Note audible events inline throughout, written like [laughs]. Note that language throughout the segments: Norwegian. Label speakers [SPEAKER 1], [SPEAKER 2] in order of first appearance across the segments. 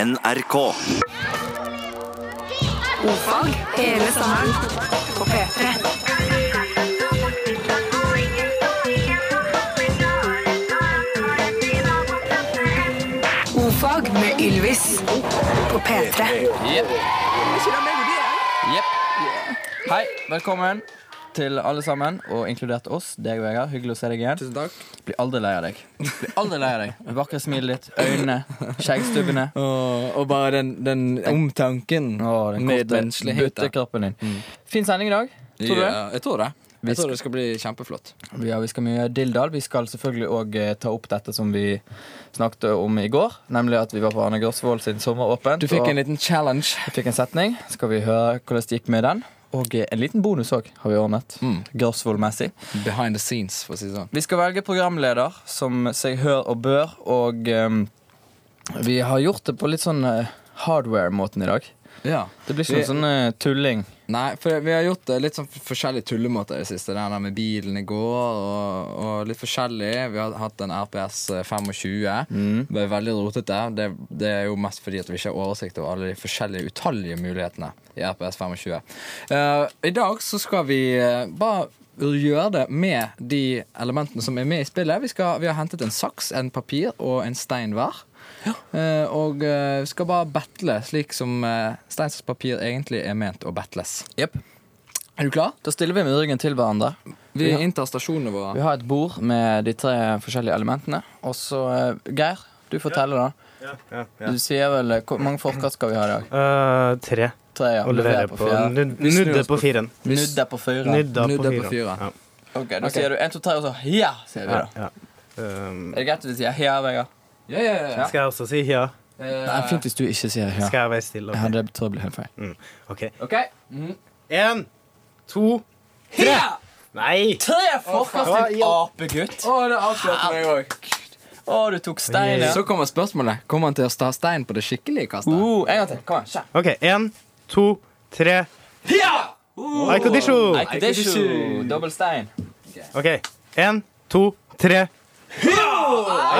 [SPEAKER 1] NRK.
[SPEAKER 2] Fag hele sommeren på P3. Ofag med Ylvis på P3.
[SPEAKER 3] Jepp. Jepp. Hei, velkommen til alle sammen, og inkludert oss. Deg, Vegard. Hyggelig å se deg igjen.
[SPEAKER 4] Tusen takk.
[SPEAKER 3] Blir aldri lei av deg. Blir aldri lei av deg Det vakre smilet ditt, øynene, skjeggstubbene.
[SPEAKER 4] Og, og bare den, den omtanken.
[SPEAKER 3] Og den korte
[SPEAKER 4] medmenneskeligheten.
[SPEAKER 3] buttekroppen din. Fin sending i dag. Tror du det?
[SPEAKER 4] Mm. Ja, jeg tror det.
[SPEAKER 3] Vi
[SPEAKER 4] Jeg tror det skal bli kjempeflott.
[SPEAKER 3] Ja, vi skal mye dilldall. Vi skal selvfølgelig òg ta opp dette som vi snakket om i går, nemlig at vi var på Arne Grosvold sin sommeråpent.
[SPEAKER 4] Du fikk
[SPEAKER 3] og-
[SPEAKER 4] en liten challenge.
[SPEAKER 3] Jeg fikk en setning. Skal vi høre hvordan det gikk med den? Og eh, en liten bonus òg har vi ordnet.
[SPEAKER 4] Mm.
[SPEAKER 3] Grosvold-messig.
[SPEAKER 4] Behind the scenes, for å si det sånn.
[SPEAKER 3] Vi skal velge programleder som seg hør og bør, og ehm, vi har gjort det på litt sånn eh, hardware-måten i dag.
[SPEAKER 4] Ja.
[SPEAKER 3] Det blir ikke noe
[SPEAKER 4] Vi-
[SPEAKER 3] sånn eh, tulling.
[SPEAKER 4] Nei, for vi har gjort det litt sånn forskjellige tullemåter i det siste. Den der med bilen i går, og, og litt forskjellig. Vi har hatt en RPS 25. eh, Det Ble veldig rotete. Det, det er jo mest fordi at vi ikke har oversikt over alle de forskjellige utallige mulighetene i RPS 25. Eh, I dag så skal vi eh, bare gjøre det med de elementene som er med i spillet. Vi, skal, vi har hentet en saks, en papir og en stein hver. Eh, og eh, vi skal bare battle slik som eh, stein, saks, papir egentlig er ment å battles.
[SPEAKER 3] Yep.
[SPEAKER 4] Er du klar?
[SPEAKER 3] Da stiller vi med ryggen til hverandre.
[SPEAKER 4] Vi
[SPEAKER 3] Ja.
[SPEAKER 4] inntar stasjonene våre.
[SPEAKER 3] Vi har et bord med de tre forskjellige elementene. Og så, eh, Geir, du forteller, da.
[SPEAKER 5] Ja,
[SPEAKER 3] Du sier vel eh, Hvor mange forkast skal vi ha i dag?
[SPEAKER 5] Eh, tre.
[SPEAKER 3] Tre, ja.
[SPEAKER 5] Og levere
[SPEAKER 3] Leverer
[SPEAKER 5] på
[SPEAKER 3] fjerde.
[SPEAKER 5] nud-
[SPEAKER 4] Vi snur
[SPEAKER 5] Nudde
[SPEAKER 4] oss
[SPEAKER 5] på
[SPEAKER 4] på-
[SPEAKER 5] firen.
[SPEAKER 3] Nudde på fyra.
[SPEAKER 5] Nudda
[SPEAKER 4] Nudda
[SPEAKER 5] på
[SPEAKER 4] på
[SPEAKER 5] firen.
[SPEAKER 4] firen.
[SPEAKER 3] Ok, Da sier du én, to, tre, og så ja, sier vi.
[SPEAKER 5] Ja,
[SPEAKER 3] da.
[SPEAKER 5] ja. Um,
[SPEAKER 3] Er det greit at vi sier ja, Vegard?
[SPEAKER 4] Ja, ja, ja.
[SPEAKER 5] skal jeg også si ja?
[SPEAKER 4] Eh,
[SPEAKER 3] Nei, fint hvis du ikke sier ja.
[SPEAKER 5] Skal jeg være stille?
[SPEAKER 3] Ja, det tror jeg blir helt feil.
[SPEAKER 5] OK.
[SPEAKER 4] OK. Mm.
[SPEAKER 5] Én, to
[SPEAKER 3] Ja!
[SPEAKER 5] Nei!
[SPEAKER 3] Tre forkast,
[SPEAKER 5] Hva
[SPEAKER 3] din
[SPEAKER 5] i all-
[SPEAKER 3] apegutt!
[SPEAKER 4] Å, det avslørte meg òg.
[SPEAKER 3] Å, du tok steinen.
[SPEAKER 4] Så kommer spørsmålet. Kommer han til å ta stein på det skikkelige kastet?
[SPEAKER 3] Uh, en gang til. Kom igjen. Kjør.
[SPEAKER 5] OK. Én, to, tre.
[SPEAKER 4] Oh.
[SPEAKER 5] Ja! Aikotisho.
[SPEAKER 3] Nei, det er ikke dobbel stein.
[SPEAKER 5] OK. Én, to, tre.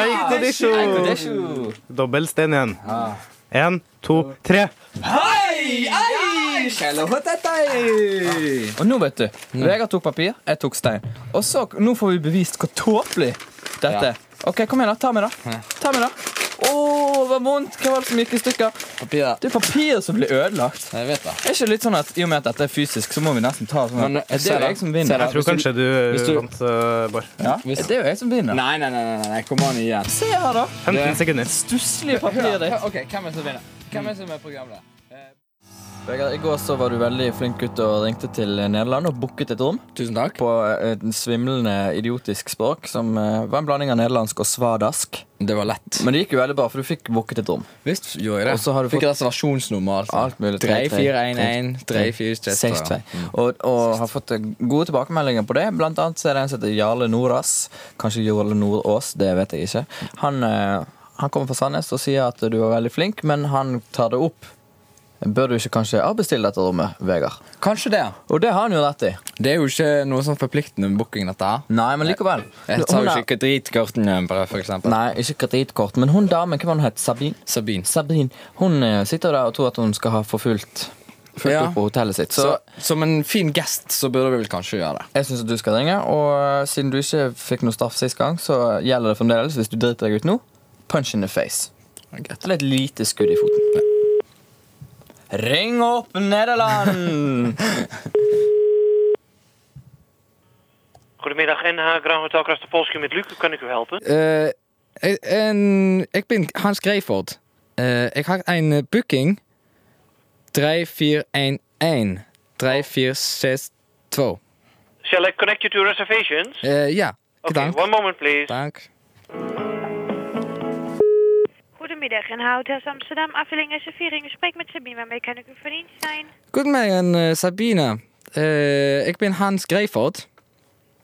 [SPEAKER 5] Aikotisho.
[SPEAKER 3] Det er ikke-
[SPEAKER 5] Dobbel sten igjen. Én, to, tre.
[SPEAKER 3] Og nå, vet du. Vegard tok papir, jeg tok stein. Og så, nå får vi bevist hvor tåpelig dette er. OK, kom igjen, da. Ta med, da. Ta med, da. Å, hva vondt. Hva var det som gikk i stykker?
[SPEAKER 4] Papiret.
[SPEAKER 3] Det er papiret som blir ødelagt.
[SPEAKER 4] Jeg vet det.
[SPEAKER 3] Er ikke litt sånn at I og med at dette er fysisk, så må vi nesten ta sånn
[SPEAKER 4] Men,
[SPEAKER 3] at, Det
[SPEAKER 4] se
[SPEAKER 3] er
[SPEAKER 4] da.
[SPEAKER 3] jo jeg som
[SPEAKER 4] Se
[SPEAKER 3] vinner.
[SPEAKER 4] da.
[SPEAKER 5] Jeg tror
[SPEAKER 4] hvis du-
[SPEAKER 5] kanskje du,
[SPEAKER 4] hvis du-
[SPEAKER 5] vant, eh, Bård.
[SPEAKER 3] Ja,
[SPEAKER 4] Hvis-
[SPEAKER 3] det er jo jeg som vinner.
[SPEAKER 4] Nei, nei, nei. nei, nei. Kom an igjen.
[SPEAKER 3] Se her, da.
[SPEAKER 5] 15 sekunder.
[SPEAKER 3] Stusslige papiret ditt.
[SPEAKER 4] OK, hvem er det som vinner? Hvem er det som er programleder?
[SPEAKER 3] Vegard, I går så var du veldig flink gutt og ringte til Nederland og booket et rom
[SPEAKER 4] Tusen takk.
[SPEAKER 3] på eh, et svimlende idiotisk språk som eh, var en blanding av nederlandsk og svadask.
[SPEAKER 4] Det var lett.
[SPEAKER 3] Men det gikk jo veldig bra, for du fikk booket et rom.
[SPEAKER 4] Visst gjorde jeg det.
[SPEAKER 3] Og så har du
[SPEAKER 4] Fikk
[SPEAKER 3] fått-
[SPEAKER 4] reservasjonsnummer. altså.
[SPEAKER 3] Alt mulig. Tre, tre,
[SPEAKER 4] 3411, 3472.
[SPEAKER 3] 6-2.
[SPEAKER 4] Mm.
[SPEAKER 3] Og, og har fått eh, gode tilbakemeldinger på det. Blant annet så er det en som heter Jarle Nordås. Kanskje Jarle Nordås, det vet jeg ikke. Han, eh, han kommer fra Sandnes og sier at du var veldig flink, men han tar det opp. Bør du ikke kanskje avbestille dette rommet, Vegard?
[SPEAKER 4] Kanskje det.
[SPEAKER 3] Og det har han jo rett i.
[SPEAKER 4] Det er jo ikke noe sånn forpliktende med booking, dette her.
[SPEAKER 3] Nei, men likevel.
[SPEAKER 4] Jeg tar
[SPEAKER 3] Hun
[SPEAKER 4] jo
[SPEAKER 3] er-
[SPEAKER 4] ikke dritkortene bare, for eksempel.
[SPEAKER 3] Nei, ikke kredittkort, men hun damen, hva var hun het? Sabine?
[SPEAKER 4] Sabine.
[SPEAKER 3] Sabine. Hun eh, sitter der og tror at hun skal ha forfulgt fulgt
[SPEAKER 4] Ja.
[SPEAKER 3] opp på hotellet sitt.
[SPEAKER 4] Så
[SPEAKER 3] Så,
[SPEAKER 4] som en fin gest så burde vi vel kanskje gjøre det.
[SPEAKER 3] jeg syns du skal ringe, og eh, siden du ikke fikk noe straff sist gang, så gjelder det fremdeles hvis du driter deg ut nå. Punch in the face. Eller et lite skudd i foten. Ring opp Nederland!
[SPEAKER 6] Goedemiddag, NH Grand Hotel Krastapolski met Luc. Hoe kan ik u helpen?
[SPEAKER 4] Eh, eh, en, jeg bin Hans Greiford. Eh, jeg har en eh, booking. 3411. 3462.
[SPEAKER 6] Shall I connect you to reservations?
[SPEAKER 4] Eh, ja,
[SPEAKER 6] Okay,
[SPEAKER 4] dank.
[SPEAKER 6] one moment please.
[SPEAKER 4] Dank.
[SPEAKER 7] Goedemiddag, en Houthuis Amsterdam, afdeling reservering. U spreekt met Sabine, waarmee kan ik u van dienst zijn?
[SPEAKER 4] Goedemorgen, eh, Sabine. Eh, jeg bin Hans Greiford.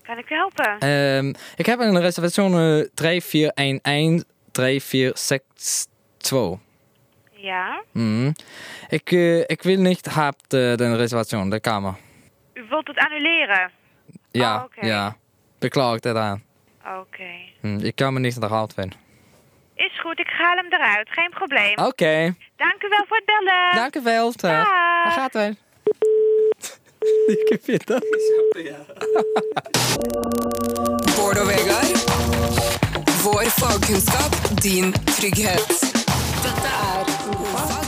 [SPEAKER 7] Kan ik u helpen?
[SPEAKER 4] Ehm, ik heb een reservation eh, 3411 3462.
[SPEAKER 7] Ja?
[SPEAKER 4] Mhm. Ik, eh, ik wil niet hebben de, de reservation, de kamer.
[SPEAKER 7] U wilt het annuleren?
[SPEAKER 4] Ja,
[SPEAKER 7] Ah, oké.
[SPEAKER 4] ja. Beklaag dit aan. Mm,
[SPEAKER 7] Oké.
[SPEAKER 4] Mhm, Ik kan me niet naar hart vinden.
[SPEAKER 7] Is goed, ik haal hem eruit, geen probleem.
[SPEAKER 4] Oké.
[SPEAKER 7] Dank u wel voor het bellen.
[SPEAKER 3] Oh. Dank u wel. Dag. Daar gaat wel.
[SPEAKER 4] [laughs]
[SPEAKER 3] Like fint, da.
[SPEAKER 1] Bård og Vegard. Vår fagkunnskap, din trygghet. Dette er Godfag.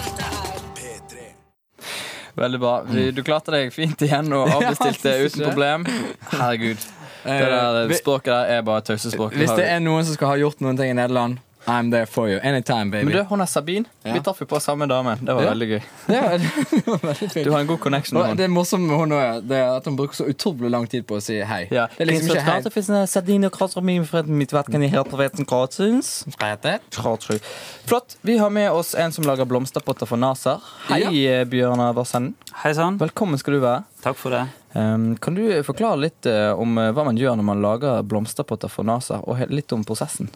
[SPEAKER 3] Veldig bra. Vi- Du klarte deg fint igjen og avbestilte
[SPEAKER 4] Ja,
[SPEAKER 3] uten problem. Herregud. Det
[SPEAKER 4] Eh,
[SPEAKER 3] der
[SPEAKER 4] vi-
[SPEAKER 3] språket der er bare tausespråk.
[SPEAKER 4] Hvis det er noen som skal ha gjort noen ting i Nederland, I'm there for you. Anytime,
[SPEAKER 3] Men
[SPEAKER 4] baby.
[SPEAKER 3] du, hun er Sabine. Vi
[SPEAKER 4] Ja.
[SPEAKER 3] traff jo på samme dame. Det var
[SPEAKER 4] Ja.
[SPEAKER 3] veldig gøy.
[SPEAKER 4] [laughs] Ja, det var veldig fint.
[SPEAKER 3] Du har en god connection med
[SPEAKER 4] Og
[SPEAKER 3] henne.
[SPEAKER 4] det morsomme med henne også, det er at hun bruker så utrolig lang tid på å si hei.
[SPEAKER 3] Ja.
[SPEAKER 4] Det er liksom ikke hei.
[SPEAKER 3] Flott. Vi har med oss en som lager blomsterpotter for Naser. Hei, eh, Bjørnar Vassenden.
[SPEAKER 8] Hei sann.
[SPEAKER 3] Velkommen skal du være.
[SPEAKER 8] Takk for det.
[SPEAKER 3] Ehm, kan du forklare litt eh, om eh, hva man gjør når man lager blomsterpotter for Naser, og he- litt om prosessen?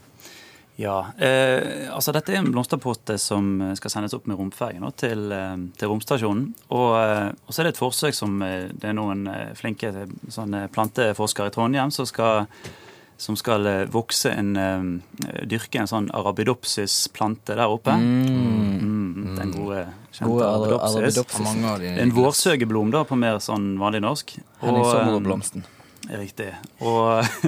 [SPEAKER 8] Ja, eh, altså Dette er en blomsterpotte som eh, skal sendes opp med romferge nå til, eh, til romstasjonen. Og, eh, og så er det et forsøk som eh, det er noen eh, flinke eh, sånne planteforskere i Trondheim som skal, som skal eh, vokse en eh, Dyrke en sånn arabidopsis-plante der oppe. Mm, den gode, kjente
[SPEAKER 3] Gode ara-
[SPEAKER 8] arabidopsis.
[SPEAKER 3] arabidopsis.
[SPEAKER 4] Mange av de-
[SPEAKER 8] En vårsugeblom, da, på mer sånn vanlig norsk.
[SPEAKER 3] Henning
[SPEAKER 8] Og, eh,
[SPEAKER 3] Sommerblomsten.
[SPEAKER 8] Riktig. Og, [laughs]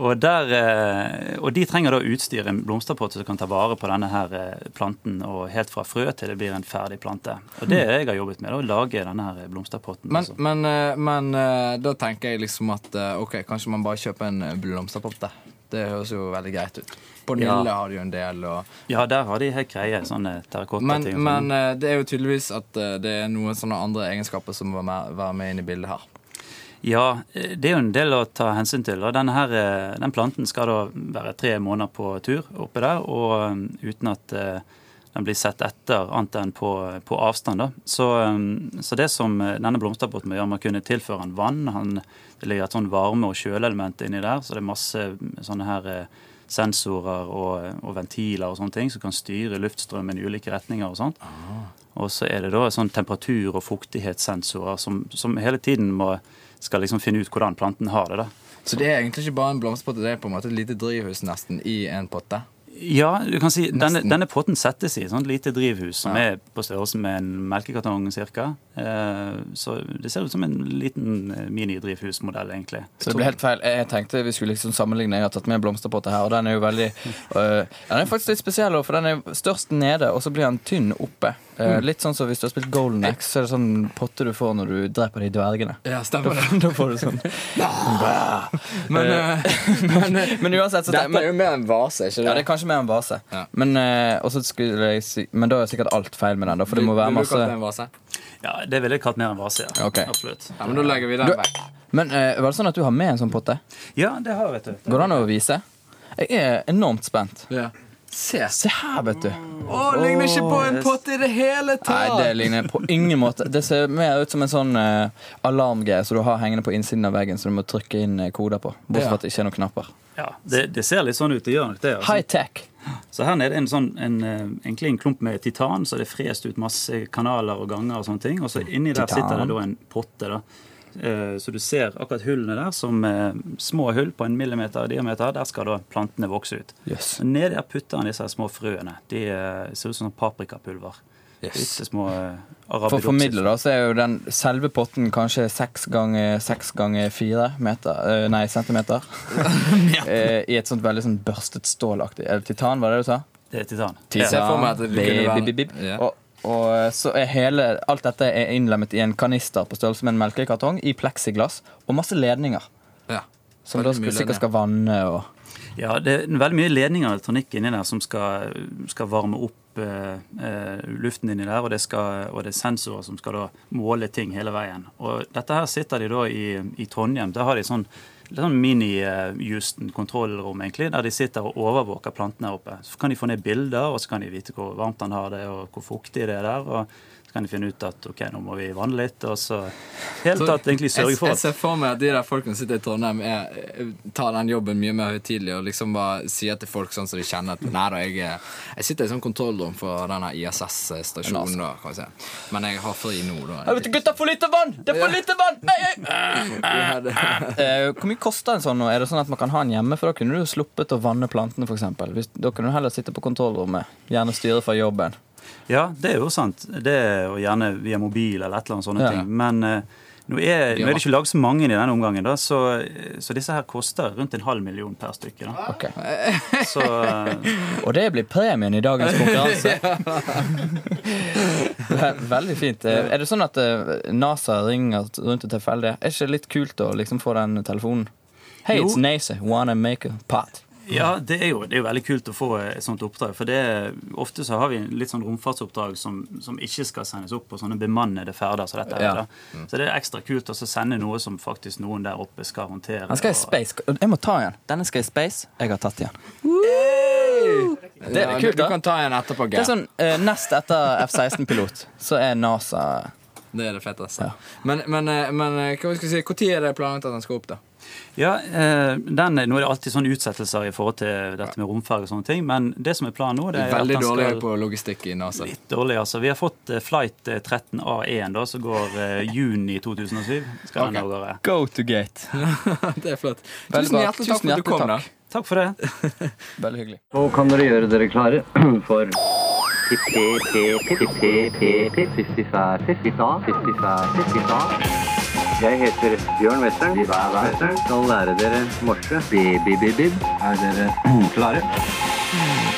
[SPEAKER 8] og, der, eh, og de trenger da utstyr, en blomsterpott som kan ta vare på denne her eh, planten og helt fra frø til det blir en ferdig plante. Og det er jeg har jobbet med, da, å lage denne her
[SPEAKER 4] Mm.
[SPEAKER 8] blomsterpotten.
[SPEAKER 4] Men,
[SPEAKER 8] altså.
[SPEAKER 4] men, eh, men eh, da tenker jeg liksom at eh, ok, kanskje man bare kjøper en eh, blomsterpotte. Det høres jo veldig greit ut. På Nille
[SPEAKER 8] Ja.
[SPEAKER 4] har de jo en del. Og,
[SPEAKER 8] Ja, der har de helt greie sånne
[SPEAKER 4] men
[SPEAKER 8] terrakottating. og sånn.
[SPEAKER 4] men eh, det er jo tydeligvis at eh, det er noen sånne andre egenskaper som må være være med inn i bildet her.
[SPEAKER 8] Ja, eh, det er jo en del å ta hensyn til. Og denne her, eh, den planten skal da være tre måneder på tur oppe der, og eh, uten at eh, den blir sett etter, annet enn på, på avstand. Da. Så, eh, så det som eh, denne blomsterpotten må gjøre, man kunne tilføre han vann. Han, det ligger et sånn varme- og kjøleelement inni der, så det er masse sånne her eh, sensorer og, og ventiler og sånne ting som kan styre luftstrømmen i ulike retninger og sånt. Og så er det da sånn temperatur- og fuktighetssensorer som, som hele tiden må, skal liksom finne ut hvordan planten har det. da.
[SPEAKER 4] Så det er egentlig ikke bare en blomsterpotte, det er på en måte et lite drivhus nesten i en potte.
[SPEAKER 8] Ja, du kan si denne,
[SPEAKER 4] Nesten.
[SPEAKER 8] denne potten settes i et sånt lite drivhus som
[SPEAKER 4] Ja.
[SPEAKER 8] er på størrelse med en melkekartong ca. Så det ser ut som en liten eh, minidrivhusmodell, egentlig.
[SPEAKER 3] Så det ble helt feil. Jeg jeg tenkte vi skulle liksom sammenligne. Jeg har tatt med en blomsterpotte her, og den er jo
[SPEAKER 4] [laughs]
[SPEAKER 3] veldig øh, Den er faktisk litt spesiell, for den er størst nede, og så blir den tynn oppe. Eh,
[SPEAKER 4] Mm.
[SPEAKER 3] litt sånn som hvis du har spilt Golden X, så er det sånn potte du får når du dreper de dvergene. [laughs]
[SPEAKER 4] Ja, stemmer det.
[SPEAKER 3] Da får du sånn.
[SPEAKER 4] [laughs] Men, eh, [laughs] men, eh,
[SPEAKER 3] Men uansett så
[SPEAKER 4] dette
[SPEAKER 3] men,
[SPEAKER 4] er jo mer en vase, ikke
[SPEAKER 3] ja, det er kanskje mer en vase.
[SPEAKER 4] Ja.
[SPEAKER 3] Men, eh, og så skulle jeg si, men da er sikkert alt feil med den, da, for det må være
[SPEAKER 4] Vil- vil du kalle
[SPEAKER 3] masse
[SPEAKER 4] det en vase?
[SPEAKER 8] Ja, Det ville jeg kalt mer en vase. ja.
[SPEAKER 3] Ok.
[SPEAKER 8] Absolutt.
[SPEAKER 4] Ja, men da legger vi den
[SPEAKER 3] Du-
[SPEAKER 4] vekk.
[SPEAKER 3] Men eh, var det sånn at du har med en sånn potte?
[SPEAKER 8] Ja, det har jeg, vet du.
[SPEAKER 3] Går det an å vise? Jeg er enormt spent.
[SPEAKER 4] Ja. Se.
[SPEAKER 3] Se her, vet du.
[SPEAKER 4] Å, ligner ikke på en potte i det
[SPEAKER 3] Nei,
[SPEAKER 4] hele tatt!
[SPEAKER 3] det ligner på ingen måte. Det ser mer ut som en sånn eh, alarmgreie som du har hengende på innsiden av veggen, som du må trykke inn eh, koder på. Bortsett
[SPEAKER 4] Ja.
[SPEAKER 3] fra at det ikke er noen knapper.
[SPEAKER 8] Ja, det, det ser litt sånn ut. Det gjør nok det. altså.
[SPEAKER 3] High-tech.
[SPEAKER 8] Så her nede er en sånn, en, eh, egentlig en klump med titan, så det er frest ut masse kanaler og ganger og sånne ting. Og så inni der
[SPEAKER 3] Titan.
[SPEAKER 8] sitter det da en potte, da. Eh, Så du ser akkurat hullene der som eh, små hull på en millimeter i diameter. Der skal da plantene vokse ut.
[SPEAKER 3] Yes.
[SPEAKER 8] Og Nedi der putter han disse her små frøene. De eh, ser ut som sånn paprikapulver. Disse små eh,
[SPEAKER 3] For å
[SPEAKER 8] arabidopsis.
[SPEAKER 3] formidle, da, så er jo den selve potten kanskje seks ganger seks ganger fire meter eh, Nei, centimeter. Eh, I et sånt veldig sånn børstet stålaktig Eller titan, var det du sa?
[SPEAKER 8] Det er titan.
[SPEAKER 4] Titan.
[SPEAKER 8] Ja.
[SPEAKER 4] for meg at det kunne
[SPEAKER 3] Bip,
[SPEAKER 4] være-
[SPEAKER 3] bip, bip, bip.
[SPEAKER 4] Ja.
[SPEAKER 3] Og, og eh, så er hele Alt dette er innlemmet i en kanister på størrelse med en melkekartong i pleksiglass og masse ledninger.
[SPEAKER 4] Ja.
[SPEAKER 3] Som da skal,
[SPEAKER 4] Veldig mye ledninger.
[SPEAKER 3] sikkert skal vanne og
[SPEAKER 8] Ja, det er veldig mye ledning og elektronikk inni der som skal, skal varme opp eh, eh, luften inni der, og det, skal, og det er sensorer som skal da måle ting hele veien. Og dette her sitter de da i, i Trondheim. Der har de sånn, litt sånn mini-Houston-kontrollrom, egentlig, der de sitter og overvåker plantene her oppe. Så kan de få ned bilder, og så kan de vite hvor varmt han har det, og hvor fuktig det er der. og så kan de finne ut at ok, nå må vi vanne litt, og så helt tatt egentlig sørge for
[SPEAKER 4] jeg, jeg
[SPEAKER 8] at
[SPEAKER 4] ser for meg at de der folkene som sitter i Trondheim, er, tar den jobben mye mer høytidelig og liksom bare sier til folk sånn som de kjenner at Nei da, jeg, er- jeg sitter i sånn kontrollrom for denne ISS-stasjonen, da,
[SPEAKER 3] altså.
[SPEAKER 4] kan vi si. Men jeg har fri nå, da.
[SPEAKER 3] Gutta, for lite vann! Det er for lite vann!
[SPEAKER 4] Ja, det-
[SPEAKER 3] hvor mye koster en sånn? nå? Er det sånn at man kan ha en hjemme? For da kunne du jo sluppet å vanne plantene, f.eks. Da kunne du heller sitte på kontrollrommet. Gjerne styre fra jobben.
[SPEAKER 8] Ja, det er jo sant. Det er jo gjerne via mobil eller et eller annet sånne
[SPEAKER 3] Ja.
[SPEAKER 8] ting. Men eh, nå er, nå er det ikke laget så mange i denne omgangen, da, så, eh, så disse her koster rundt en halv million per stykke. Da.
[SPEAKER 3] Ok.
[SPEAKER 8] Så eh,
[SPEAKER 3] Og det blir premien i dagens [laughs] konkurranse. Ve- Veldig fint. Eh, Er det sånn at eh, NASA ringer rundt og tilfeldig? Er ikke det litt kult å liksom få den telefonen? Hei,
[SPEAKER 8] Jo.
[SPEAKER 3] it's NASA. Wanna make a pot?
[SPEAKER 8] ja, det er, jo, det er jo veldig kult å få eh, et sånt oppdrag. For det, er- ofte så har vi litt sånn romfartsoppdrag som, som ikke skal sendes opp på sånne bemannede ferder som dette.
[SPEAKER 3] Ja. Mm.
[SPEAKER 8] er, da. Så det er ekstra kult å så sende noe som faktisk noen der oppe skal håndtere.
[SPEAKER 3] Han skal i
[SPEAKER 8] og-
[SPEAKER 3] space. Jeg må ta igjen. Denne skal i space. Jeg har tatt igjen. Det er
[SPEAKER 4] Ja,
[SPEAKER 3] kult,
[SPEAKER 4] du,
[SPEAKER 3] da.
[SPEAKER 4] du kan ta en etterpå.
[SPEAKER 3] Det
[SPEAKER 4] Geir.
[SPEAKER 3] er sånn, eh, Nest etter F-16-pilot, så er NASA
[SPEAKER 4] Det er det feteste. Men, men, eh, men eh, hva skal vi si, når er det planlagt at den skal opp, da?
[SPEAKER 8] Ja, eh, den, Nå er det alltid sånne utsettelser i forhold til dette med romferge og sånne ting, men det som er planen nå det er
[SPEAKER 4] Veldig
[SPEAKER 8] at den
[SPEAKER 4] dårlig
[SPEAKER 8] skal...
[SPEAKER 4] på logistikk i
[SPEAKER 3] [laughs]
[SPEAKER 4] NASA.
[SPEAKER 8] Litt dårlig, altså. Vi har fått eh, flight eh, 13A1, da, som går eh, juni 2007. Skal
[SPEAKER 4] Ok.
[SPEAKER 8] den av gårde.
[SPEAKER 3] Go to gate.
[SPEAKER 4] Det er flott.
[SPEAKER 3] Veldig
[SPEAKER 4] Tusen
[SPEAKER 3] bra.
[SPEAKER 4] hjertelig takk
[SPEAKER 3] Tusen
[SPEAKER 4] for at du kom,
[SPEAKER 3] hjertelig
[SPEAKER 4] da.
[SPEAKER 3] takk.
[SPEAKER 8] Takk for det.
[SPEAKER 3] Veldig hyggelig.
[SPEAKER 9] Nå kan dere gjøre dere klare for Jeg heter Bjørn Western. Western. Skal lære dere morse. Bi-bi-bi-bib. Er dere klare?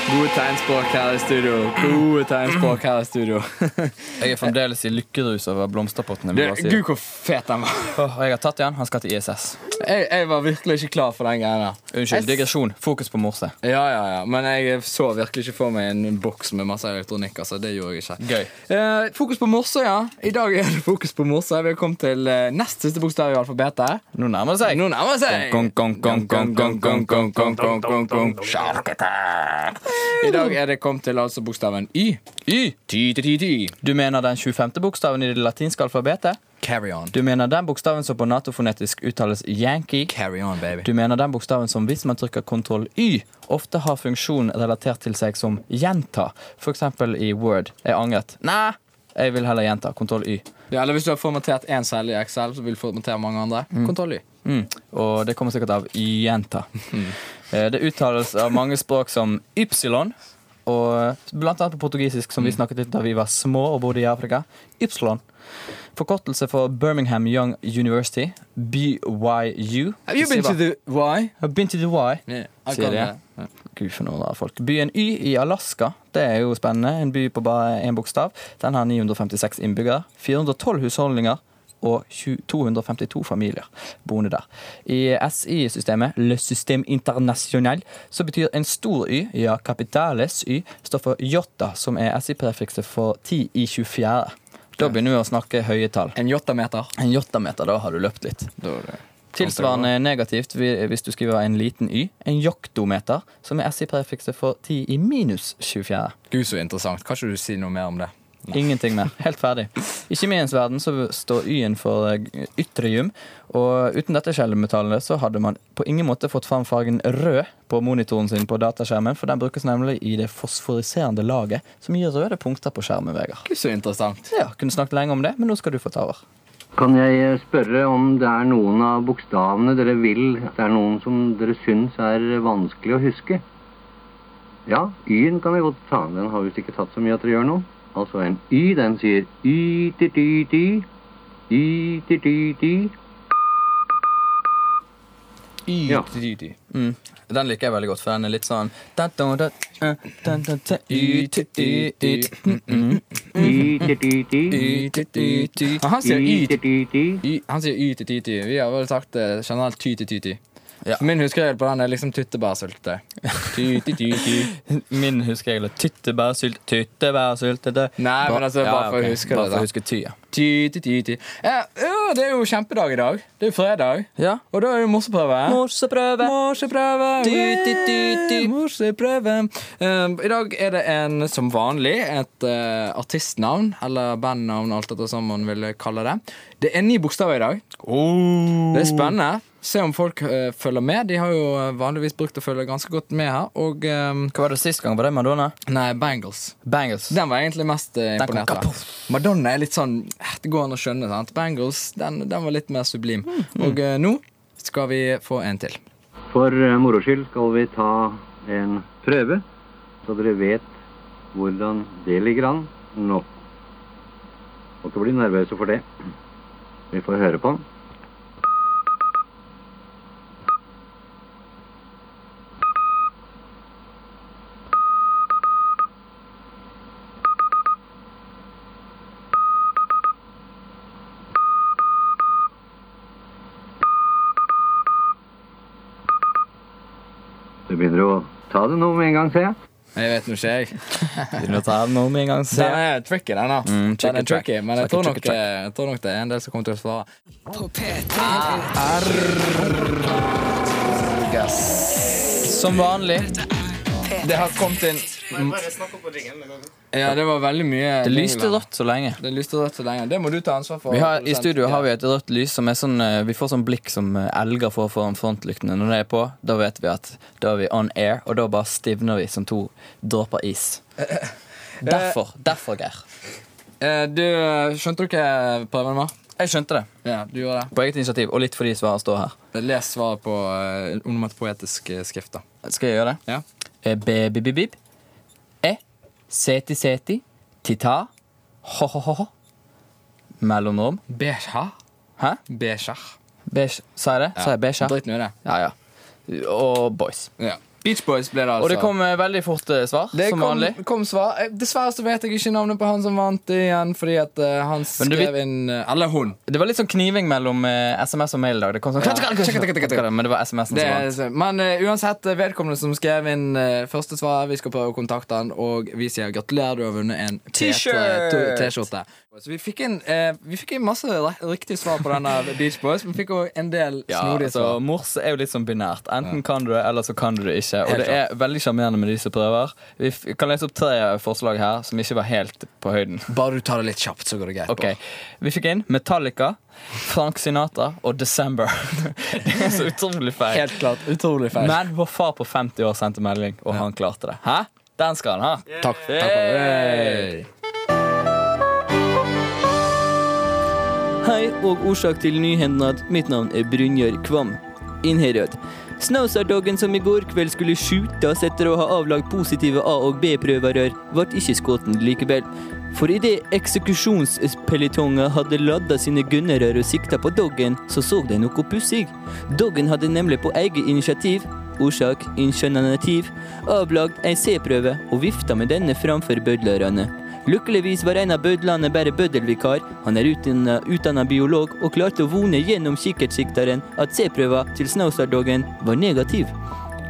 [SPEAKER 4] Gode tegnspråk her i studio. Gode tegnspråk her i [laughs] studio.
[SPEAKER 3] Jeg er fremdeles i lykkerus over blomsterpottene.
[SPEAKER 4] Du,
[SPEAKER 3] vil jeg bare si.
[SPEAKER 4] Gud, hvor fet den var.
[SPEAKER 3] Åh, jeg har tatt igjen. Han skal til ISS.
[SPEAKER 4] Jeg, jeg var virkelig ikke klar for den greia der.
[SPEAKER 3] Unnskyld, digresjon. Fokus på morse.
[SPEAKER 4] Ja, ja, ja. Men jeg så virkelig ikke for meg en boks med masse elektronikk. altså. Det gjorde jeg ikke.
[SPEAKER 3] Gøy.
[SPEAKER 4] Eh, fokus på morse, ja. I dag er det fokus på morse. Vi har kommet til eh, nest siste bokstav i alfabetet.
[SPEAKER 3] Nå nærmer det seg.
[SPEAKER 4] Nå nærmer det seg.
[SPEAKER 3] Gong, gong, gong, gong, gong, gong, gong, gong, gong, gong, gong.
[SPEAKER 4] Shark attack. I dag er det kommet til altså bokstaven Y. Y. Ty, ty, ty, ty.
[SPEAKER 3] Du mener den 25. bokstaven i det latinske alfabetet?
[SPEAKER 4] Carry on.
[SPEAKER 3] Du mener den bokstaven som på natofonetisk uttales yankee?
[SPEAKER 4] Carry on, baby.
[SPEAKER 3] Du mener den bokstaven som hvis man trykker kontroll Y, ofte har funksjon relatert til seg som gjenta? For eksempel i Word. Jeg angret. Nei, jeg vil heller gjenta. Kontroll Y.
[SPEAKER 4] Ja, eller hvis du har formatert én celle i Excel, så vil du formatere mange andre. Kontroll Y.
[SPEAKER 3] Mm. Og det kommer sikkert av jenta.
[SPEAKER 4] Mm.
[SPEAKER 3] Eh, Det uttales av mange språk som ypsilon, og blant annet på portugisisk, som vi
[SPEAKER 4] Mm.
[SPEAKER 3] snakket litt da vi var små og bodde i Afrika. Ypsilon. Forkortelse for Birmingham Young University, BYU.
[SPEAKER 4] Have you
[SPEAKER 3] De sier
[SPEAKER 4] been to
[SPEAKER 3] bare,
[SPEAKER 4] the Y?
[SPEAKER 3] I've been to the Y, sier de. Gud, for noen rare folk. Byen Y i Alaska, det er jo spennende. En by på bare én bokstav. Den har 956 innbyggere, 412 husholdninger og 20 252 familier boende der. I SI-systemet, Le System International, så betyr en stor Y, ja, kapitales Y, står for jota, som er SI-prefikset for 10 i 24. Da begynner vi å snakke høye tall.
[SPEAKER 4] En jottameter.
[SPEAKER 3] En jottameter, da har du løpt litt. Tilsvarende negativt vi- hvis du skriver en liten y. En joktometer, som er SI-prefikset for 10 i minus 24.
[SPEAKER 4] Gud, så interessant. Kan ikke du si noe mer om det?
[SPEAKER 3] Ingenting mer. Helt ferdig. I kjemiens verden så står y-en for eh, ytterjum, og uten dette skjellemetallet så hadde man på ingen måte fått fram fargen rød på monitoren sin på dataskjermen, for den brukes nemlig i det fosforiserende laget som gir røde punkter på skjermen, Vegard.
[SPEAKER 4] Gud, så interessant.
[SPEAKER 3] Ja, kunne snakket lenge om det, men nå skal du få ta over.
[SPEAKER 9] Kan jeg eh, spørre om det er noen av bokstavene dere vil at Det er noen som dere syns er vanskelig å huske? Ja, Y-en kan vi godt ta. Den har visst ikke tatt så mye at dere gjør noe. Altså en Y, den sier Y-ti-ti-ti. Y-ti-ti-ti. Ja.
[SPEAKER 3] Mm. Den liker jeg veldig godt, for den er litt sånn da, da, da, eh, da, da, da, ut, ut, ut, ut, mm, mm,
[SPEAKER 9] Y-ti-ti-ti.
[SPEAKER 3] ut, ut, ut, ut.
[SPEAKER 4] Ja, han sier Y. til-
[SPEAKER 9] Y-ti-ti-ti.
[SPEAKER 4] Y. Han sier Y til Titi. Vi har vel sagt eh, generelt Ty til Titi.
[SPEAKER 3] Ja.
[SPEAKER 4] Min huskeregel på den er liksom tyttebærsyltetøy. Ty, ty, ty, [laughs] ty.
[SPEAKER 3] Mm. Min husker jeg eller tyttebærsylt, tyttebærsylt det- det-
[SPEAKER 4] Nei, men altså, bare for å
[SPEAKER 3] ok,
[SPEAKER 4] huske det,
[SPEAKER 3] Bare for
[SPEAKER 4] da.
[SPEAKER 3] å huske ty, ja.
[SPEAKER 4] Ty, ty, ty, ty. Ja, ja, det er jo kjempedag i dag. Det er jo fredag.
[SPEAKER 3] ja.
[SPEAKER 4] Og da er det jo morseprøve. eh?
[SPEAKER 3] Morseprøve.
[SPEAKER 4] Morseprøve.
[SPEAKER 3] Ty, ty, ty, ty.
[SPEAKER 4] Yeah, Morseprøve. Um, I dag er det en som vanlig et eh, artistnavn, eller bandnavn, alt etter som man vil eh, kalle det. Det er ni bokstaver i dag.
[SPEAKER 3] Oh.
[SPEAKER 4] Det er spennende. Se om folk eh, følger med. De har jo eh, vanligvis brukt å følge ganske godt med her. Og um,
[SPEAKER 3] Hva var det sist gang? Var det Madonna?
[SPEAKER 4] Nei, Bangles.
[SPEAKER 3] Bangles.
[SPEAKER 4] Den var egentlig mest eh,
[SPEAKER 3] Den kom
[SPEAKER 4] imponert av. Madonna er litt sånn eh, Det går an å skjønne. sant? Bangles den, den var litt mer sublim.
[SPEAKER 3] Mm.
[SPEAKER 4] Og eh, nå skal vi få en til.
[SPEAKER 9] For eh, moro skyld skal vi ta en prøve, så dere vet hvordan det ligger an Nå. Må ikke bli nervøse for det. Vi får høre på den. Du begynner å ta det nå med en gang, ser jeg.
[SPEAKER 4] Jeg vet nå ikke, jeg.
[SPEAKER 3] Begynner å ta den om en gang.
[SPEAKER 4] Den er tricky, den, da.
[SPEAKER 3] Mm, tricky
[SPEAKER 4] den er tricky,
[SPEAKER 3] track.
[SPEAKER 4] men jeg
[SPEAKER 3] Tricky,
[SPEAKER 4] tror, nok, eh,
[SPEAKER 3] tricky track.
[SPEAKER 4] jeg tror nok det er en del som kommer til å svare.
[SPEAKER 1] På P3.
[SPEAKER 3] Som vanlig.
[SPEAKER 4] Det har kommet inn
[SPEAKER 5] Bare snakk opp og ring en gang.
[SPEAKER 4] Ja, det var veldig mye
[SPEAKER 3] Det lyste
[SPEAKER 4] jingler.
[SPEAKER 3] rått så lenge.
[SPEAKER 4] Det lyste rødt så lenge. Det må du ta ansvar for.
[SPEAKER 3] Vi har, I
[SPEAKER 4] produsent.
[SPEAKER 3] studio har vi et rødt lys som er sånn eh, Vi får sånn blikk som eh, elger får foran frontlyktene. Når det er på, da vet vi at da er vi on air, og da bare stivner vi som to dråper
[SPEAKER 4] [laughs]
[SPEAKER 3] is. Derfor, derfor, Geir.
[SPEAKER 4] Eh, Du, skjønte du hva prøven var?
[SPEAKER 3] Jeg skjønte det.
[SPEAKER 4] Ja, du gjorde det.
[SPEAKER 3] På eget initiativ, og litt fordi svaret står her.
[SPEAKER 4] Les svaret på eh, onomatopoetisk eh, skrift, da.
[SPEAKER 3] Skal jeg gjøre det?
[SPEAKER 4] Ja.
[SPEAKER 3] Eh, Be-bi-bi-bib. E. Seti-seti. Tita. Ho-ho-ho. Mellomrom.
[SPEAKER 4] Beja.
[SPEAKER 3] Hæ?
[SPEAKER 4] Beja.
[SPEAKER 3] Beige. Sa jeg det? Sa jeg beige?
[SPEAKER 4] Drit nå i det.
[SPEAKER 3] Ja, ja. Og boys.
[SPEAKER 4] Ja. Beach Boys ble det, altså.
[SPEAKER 3] Og det kom eh, veldig fort eh, svar,
[SPEAKER 4] Det
[SPEAKER 3] som
[SPEAKER 4] kom,
[SPEAKER 3] vanlig.
[SPEAKER 4] kom svar. Eh, Dessverre så vet jeg ikke navnet på han som vant igjen, fordi at eh, han
[SPEAKER 3] Men du
[SPEAKER 4] skrev inn eh, Eller hun.
[SPEAKER 3] Det var litt sånn kniving mellom eh, SMS og mail i dag. Det kom sånn, Men det var SMS-en
[SPEAKER 4] Det,
[SPEAKER 3] som vant.
[SPEAKER 4] er- men eh, uansett, eh, vedkommende som skrev inn eh, første svar, vi skal prøve å kontakte han, og vi sier gratulerer, du har vunnet en
[SPEAKER 3] T-shirt!
[SPEAKER 4] P3 T-skjorte. Så vi fikk inn, eh, vi fikk inn masse re- riktige svar på denne Beach Boys, men vi fikk òg en del
[SPEAKER 3] Ja,
[SPEAKER 4] snodige
[SPEAKER 3] altså,
[SPEAKER 4] svar.
[SPEAKER 3] mors er jo litt sånn binært. Enten kan du det, eller så kan du det ikke. Og
[SPEAKER 4] Helt
[SPEAKER 3] det er veldig sjarmerende med de som prøver. Vi f kan lese opp tre eh, forslag her som ikke var helt på høyden.
[SPEAKER 4] [laughs] Bare du tar det litt kjapt, så går det greit.
[SPEAKER 3] Ok, Vi fikk inn Metallica, Frank Sinatra og December. [laughs] det er så utrolig
[SPEAKER 4] Bård.
[SPEAKER 3] feil.
[SPEAKER 4] Helt klart. Utrolig feil.
[SPEAKER 3] Men vår far på 50 år sendte melding, og han klarte det. Hæ? Den skal han ha.
[SPEAKER 4] Takk, takk for det.
[SPEAKER 3] Hei, og årsak til nyhendnad. Mitt navn er Brynjar Kvam. Innherred. Snausardagen som i går kveld skulle skjutes etter å ha avlagt positive A- og B-prøverer, ble ikke skutt likevel. For idet eksekusjonspeletonger hadde ladda sine gunnere og sikta på doggen, så så de noe pussig. Doggen hadde nemlig på eget initiativ Orsak initiativ avlagd ei C-prøve og vifta med denne framfor bødlerne. Lykkeligvis var en av bødlene bare bøddelvikar. Han er utdanna, utdanna biolog og klarte å vone gjennom kikkertsikteren at C-prøva til Snowstar-doggen var negativ.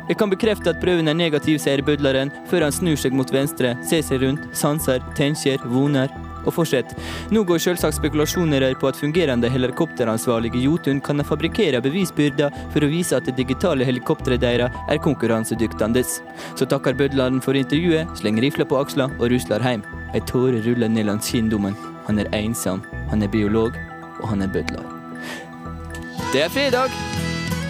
[SPEAKER 3] Jeg kan bekrefte at prøven er negativ, sier bødleren, før han snur seg mot venstre, ser seg rundt, sanser, tenker, voner og fortsetter. Nå går selvsagt spekulasjoner her på at fungerende helikopteransvarlig i Jotun kan ha fabrikkere bevisbyrder for å vise at det digitale helikopteret deres er konkurransedyktige. Så takker bødleren for intervjuet, slenger rifla på aksla og rusler hjem. Ei tåre ruller ned langs kinndommen. Han er ensom, han er biolog, og han er bødler. Det er fredag!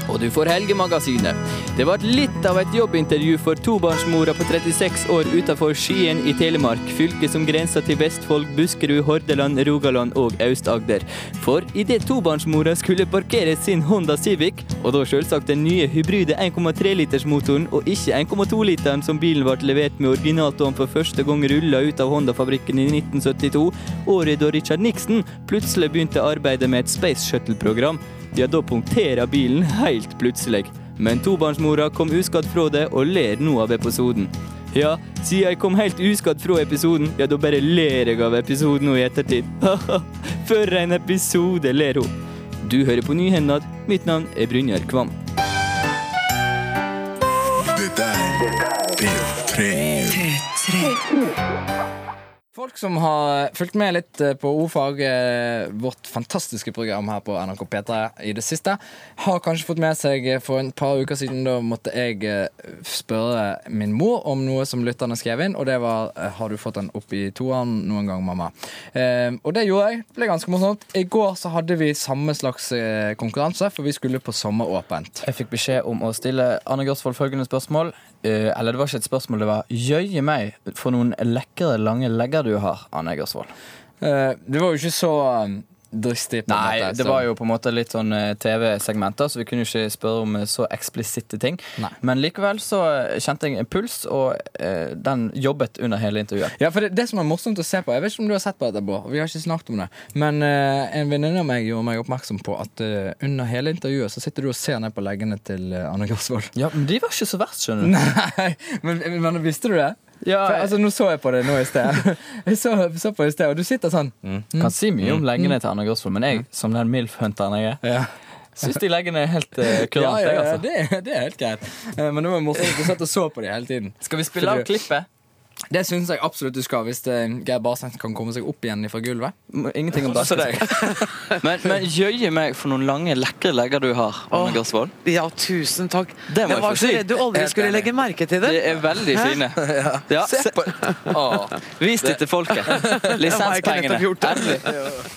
[SPEAKER 3] og du får Helgemagasinet. Det ble litt av et jobbintervju for tobarnsmora på 36 år utenfor Skien i Telemark, fylket som grenser til Vestfold, Buskerud, Hordaland, Rogaland og Aust-Agder. For idet tobarnsmora skulle parkere sin Honda Civic, og da selvsagt den nye hybride 1,3-litersmotoren og ikke 1,2-literen som bilen ble levert med originaltom for første gang rulla ut av Honda-fabrikken i 1972, året da Richard Nixon plutselig begynte arbeidet med et Space Shuttle-program. Ja, da punkterer bilen helt plutselig. Men tobarnsmora kom uskadd fra det og ler nå av episoden. Ja, siden jeg kom helt uskadd fra episoden, ja, da bare ler jeg av episoden nå i ettertid. [laughs] Ha-ha, for en episode, ler hun. Du hører på Nyhendad. Mitt navn er Brynjar Kvam.
[SPEAKER 4] Folk som har fulgt med litt eh, på ordfag, eh, vårt fantastiske program her på NRK P3 i det siste, har kanskje fått med seg eh, for en par uker siden da måtte jeg eh, spørre min mor om noe som lytterne skrev inn, og det var eh, 'Har du fått den opp i toeren noen gang, mamma?' Eh, Og det gjorde jeg. Det ble ganske morsomt. I går så hadde vi samme slags eh, konkurranse, for vi skulle på Sommeråpent.
[SPEAKER 3] Jeg fikk beskjed om å stille Anne Grosvold følgende spørsmål. Eh, eller det var ikke et spørsmål, det var jøye meg for noen lekre, lange legger du har, Anne Grosvold.
[SPEAKER 4] Eh, Det var jo ikke så dristig. på en
[SPEAKER 3] Nei,
[SPEAKER 4] måte,
[SPEAKER 3] det
[SPEAKER 4] så-
[SPEAKER 3] var jo på en måte litt sånn eh, TV-segmenter, så vi kunne ikke spørre om eh, så eksplisitte ting.
[SPEAKER 4] Nei.
[SPEAKER 3] Men likevel så eh, kjente jeg en puls, og eh, den jobbet under hele intervjuet.
[SPEAKER 4] Ja, for det, det som er morsomt å se på Jeg vet ikke om du har sett på dette, Bård. Vi har ikke snakket om det. Men eh, en venninne av meg gjorde meg oppmerksom på at eh, under hele intervjuet så sitter du og ser ned på leggene til eh, Anne Grosvold.
[SPEAKER 3] Ja, men de var ikke så verst, skjønner du.
[SPEAKER 4] [laughs] Nei, men, men visste du det?
[SPEAKER 3] Ja,
[SPEAKER 4] for, altså, nå så jeg på det nå i sted. [laughs] Jeg så, så på det i sted, og du sitter sånn.
[SPEAKER 3] Kan si mye om leggene til Anna Grosvold, men jeg, som den MILF-hunteren jeg er,
[SPEAKER 4] Ja.
[SPEAKER 3] syns de leggene er helt uh,
[SPEAKER 4] Ja,
[SPEAKER 3] kurante.
[SPEAKER 4] ja,
[SPEAKER 3] jeg,
[SPEAKER 4] ja,
[SPEAKER 3] altså.
[SPEAKER 4] det, det er helt greit. Eh, Men det var morsomt at du satt og så på det hele tiden.
[SPEAKER 3] Skal vi spille av
[SPEAKER 4] Fordi-
[SPEAKER 3] klippet?
[SPEAKER 4] Det syns jeg absolutt du skal, hvis eh, Geir Barseth kan komme seg opp igjen fra gulvet.
[SPEAKER 3] M- Ingenting om det.
[SPEAKER 10] Men, men jøye meg for noen lange, lekre legger du har. Arne Grosvold.
[SPEAKER 11] Ja, tusen takk.
[SPEAKER 10] Det
[SPEAKER 11] jeg
[SPEAKER 10] må jeg
[SPEAKER 11] var
[SPEAKER 10] få
[SPEAKER 11] så
[SPEAKER 10] si.
[SPEAKER 11] redd du aldri
[SPEAKER 4] Helt
[SPEAKER 11] skulle
[SPEAKER 4] enig.
[SPEAKER 11] legge merke til det.
[SPEAKER 10] De er veldig fine. [laughs] Ja, se på Vis det til [laughs] folket. Lisenspengene.
[SPEAKER 11] nettopp gjort det.
[SPEAKER 10] [laughs] Endelig.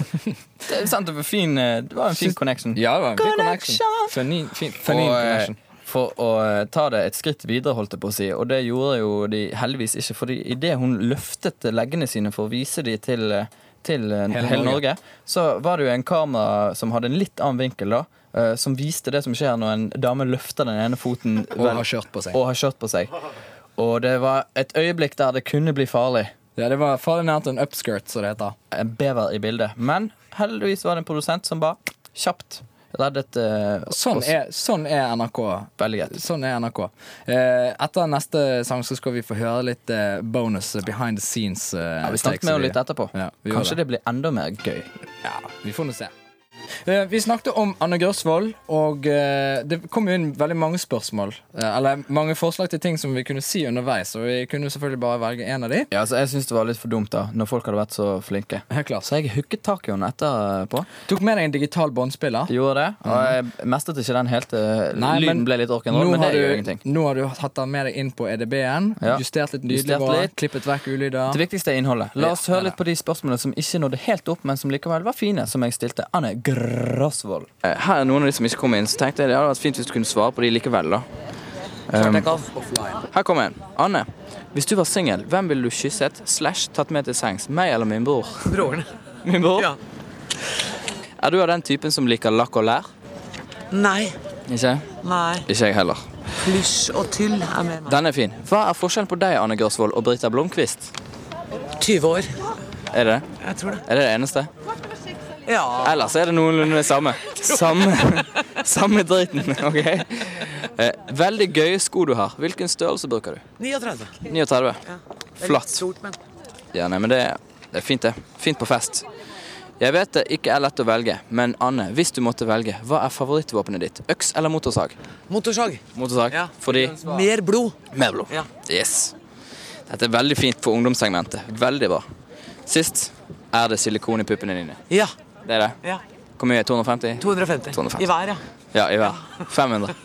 [SPEAKER 3] Det er sant, det var, fin, eh, det var en fin connection.
[SPEAKER 4] Ja, det var en fin connection. Funny, fin, funny
[SPEAKER 3] Og, eh,
[SPEAKER 4] connection.
[SPEAKER 3] for å eh, ta det et skritt videre, holdt jeg på å si, og det gjorde jo de heldigvis ikke. For idet hun løftet leggene sine for å vise de til, eh, til eh, hele, Norge.
[SPEAKER 4] Norge.
[SPEAKER 3] så var det jo en kamera som hadde en litt annen vinkel, da. eh, Som viste det som skjer når en dame løfter den ene foten
[SPEAKER 4] [laughs] Og har kjørt på seg.
[SPEAKER 3] og har kjørt på seg. Og det var et øyeblikk der det kunne bli farlig.
[SPEAKER 4] Ja, det var farlig nært en upskirt, som det heter.
[SPEAKER 3] En bever i bildet. Men heldigvis var det en produsent som bare kjapt reddet eh,
[SPEAKER 4] Sånn
[SPEAKER 3] oss.
[SPEAKER 4] er, sånn er NRK.
[SPEAKER 3] Veldig greit.
[SPEAKER 4] Sånn er NRK. Eh, etter neste sang så skal vi få høre litt eh, bonus eh, behind the scenes. eh,
[SPEAKER 3] Ja, vi
[SPEAKER 4] takes
[SPEAKER 3] snakket med henne
[SPEAKER 4] vi-
[SPEAKER 3] litt etterpå.
[SPEAKER 4] Ja, vi gjør
[SPEAKER 3] Kanskje det blir enda mer gøy.
[SPEAKER 4] Ja, vi får nå se. Eh, Vi snakket om Anne Grosvold, og eh, det kom jo inn veldig mange spørsmål. eh, Eller mange forslag til ting som vi kunne si underveis, og vi kunne jo selvfølgelig bare velge en av de.
[SPEAKER 3] Ja, altså, jeg syns det var litt for dumt, da, når folk hadde vært så [laughs] flinke.
[SPEAKER 4] Helt klart.
[SPEAKER 3] Så jeg hooket tak i henne etterpå.
[SPEAKER 4] Tok med deg en digital båndspiller.
[SPEAKER 3] Gjorde det, og jeg mestret ikke den helt. eh,
[SPEAKER 4] Nei, men
[SPEAKER 3] Lyden ble litt
[SPEAKER 4] nå
[SPEAKER 3] orkenroll, Mhm. men det
[SPEAKER 4] har
[SPEAKER 3] gjør
[SPEAKER 4] du-
[SPEAKER 3] ingenting.
[SPEAKER 4] Nå har du hatt den med deg inn på EDB-en,
[SPEAKER 3] Ja.
[SPEAKER 4] justert litt
[SPEAKER 3] Justert
[SPEAKER 4] lydnivået,
[SPEAKER 3] litt.
[SPEAKER 4] klippet vekk ulyder.
[SPEAKER 3] Det viktigste er innholdet. La oss
[SPEAKER 4] Ja,
[SPEAKER 3] høre
[SPEAKER 4] ja,
[SPEAKER 3] litt på de spørsmålene som ikke nådde helt opp, men som likevel var fine, som jeg stilte Anne Grosvold. Eh, Her er noen av de som ikke kom inn, så tenkte jeg det hadde vært fint hvis du kunne svare på de likevel, da. Ehm, Her kommer en. Anne, hvis du var singel, hvem ville du kysset slash tatt med til sengs? Meg eller min bror?
[SPEAKER 11] Broren.
[SPEAKER 3] Min bror?
[SPEAKER 11] Ja.
[SPEAKER 3] Er du av den typen som liker lakk og lær?
[SPEAKER 11] Nei.
[SPEAKER 3] Ikke?
[SPEAKER 11] Nei.
[SPEAKER 3] Ikke jeg heller.
[SPEAKER 11] Plysj og tyll er med meg.
[SPEAKER 3] Den er fin. Hva er forskjellen på deg, Anne Grosvold, og Brita Blomkvist?
[SPEAKER 11] 20 år.
[SPEAKER 3] Er det det?
[SPEAKER 11] Jeg tror det.
[SPEAKER 3] Er det det eneste?
[SPEAKER 11] Ja.
[SPEAKER 3] Ellers er det noenlunde det samme. Samme, samme driten, OK? Eh, Veldig gøye sko du har. Hvilken størrelse bruker du?
[SPEAKER 11] 39.
[SPEAKER 3] 39.
[SPEAKER 11] Det er
[SPEAKER 3] Flatt.
[SPEAKER 11] Litt stort, men
[SPEAKER 3] Ja, nei, men det, det er fint, det. Fint på fest. Jeg vet det ikke er lett å velge, men Anne, hvis du måtte velge, hva er favorittvåpenet ditt? Øks eller motorsag?
[SPEAKER 11] motorsag.
[SPEAKER 3] Motorsag.
[SPEAKER 11] Ja.
[SPEAKER 3] Fordi
[SPEAKER 11] Mer blod.
[SPEAKER 3] Mer blod.
[SPEAKER 11] Ja.
[SPEAKER 3] Yes. Dette er veldig fint for ungdomssegmentet. Veldig bra. Sist er det silikon i puppene dine.
[SPEAKER 11] Ja.
[SPEAKER 3] Det er det.
[SPEAKER 11] ja.
[SPEAKER 3] Hvor mye? 250?
[SPEAKER 11] 250.
[SPEAKER 3] 250.
[SPEAKER 11] I hver, ja.
[SPEAKER 3] Ja, i hver. 500.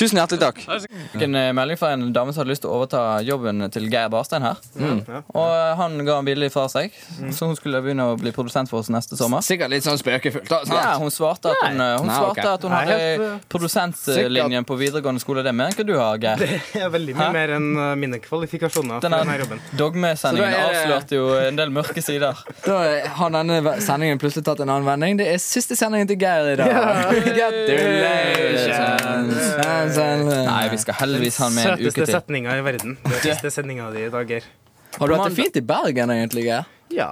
[SPEAKER 3] Tusen hjertelig takk. Jeg fikk en eh, melding fra en dame som hadde lyst til å overta jobben til Geir Barstein her. Og eh, han ga en billig fra seg, så hun skulle begynne å bli produsent for oss neste sommer.
[SPEAKER 4] Sikkert litt sånn spøkefullt. da, sant?
[SPEAKER 3] Ja, hun svarte at hun, eh, hun,
[SPEAKER 4] Nei,
[SPEAKER 3] svarte
[SPEAKER 4] ok.
[SPEAKER 3] at hun
[SPEAKER 11] Eh,
[SPEAKER 3] hadde produsentlinjen på videregående skole. Det mener ikke du har, Geir.
[SPEAKER 5] Det er veldig mye
[SPEAKER 3] Hæ?
[SPEAKER 5] mer enn eh, mine kvalifikasjoner. for denne
[SPEAKER 3] Denne
[SPEAKER 5] jobben.
[SPEAKER 3] dogmesendingen
[SPEAKER 4] Så da er det-
[SPEAKER 3] avslørte jo en del mørke
[SPEAKER 4] [laughs]
[SPEAKER 3] sider.
[SPEAKER 4] Da har denne ve- sendingen plutselig tatt en annen vending. Det er siste sendingen til Geir i dag.
[SPEAKER 3] Nei,
[SPEAKER 4] Gratulerer!
[SPEAKER 3] vi skal heldigvis ha han med en uke
[SPEAKER 5] Søteste
[SPEAKER 3] til.
[SPEAKER 5] setninga i verden. Det er siste sendinga di i dag, Geir.
[SPEAKER 4] Har du hatt det fint i Bergen, egentlig, Geir?
[SPEAKER 5] Ja.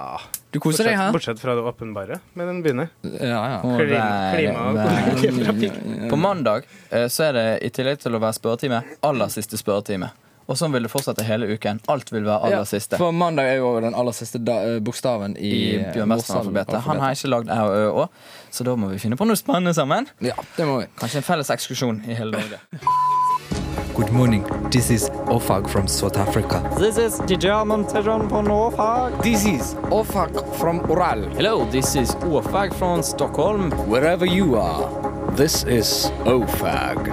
[SPEAKER 4] Du koser deg her?
[SPEAKER 5] Bortsett fra det åpenbare, men den begynner.
[SPEAKER 4] Ja, Mm, ja.
[SPEAKER 3] Å,
[SPEAKER 5] Klima,
[SPEAKER 3] der,
[SPEAKER 5] klima og
[SPEAKER 3] der.
[SPEAKER 5] kollektivtrafikk.
[SPEAKER 3] På mandag eh, så er det i tillegg til å være spørretime, aller siste spørretime. Og sånn vil det fortsette hele uken. Alt vil være aller siste.
[SPEAKER 4] For mandag er jo den aller siste da, eh, bokstaven i,
[SPEAKER 3] I
[SPEAKER 4] eh,
[SPEAKER 3] Bjørn Western-alfabetet. Han har ikke lagd æ og ø òg, så da må vi finne på noe spennende sammen.
[SPEAKER 4] Ja, det må vi.
[SPEAKER 3] Kanskje en felles ekskursjon i hele Norge.
[SPEAKER 4] Good morning. This is Ofag from South Africa.
[SPEAKER 10] This is the German session for Norfolk.
[SPEAKER 4] This is Ofag from Oral.
[SPEAKER 10] Hello, this is Åfag fra Stockholm.
[SPEAKER 4] Wherever you are, this is Ofag.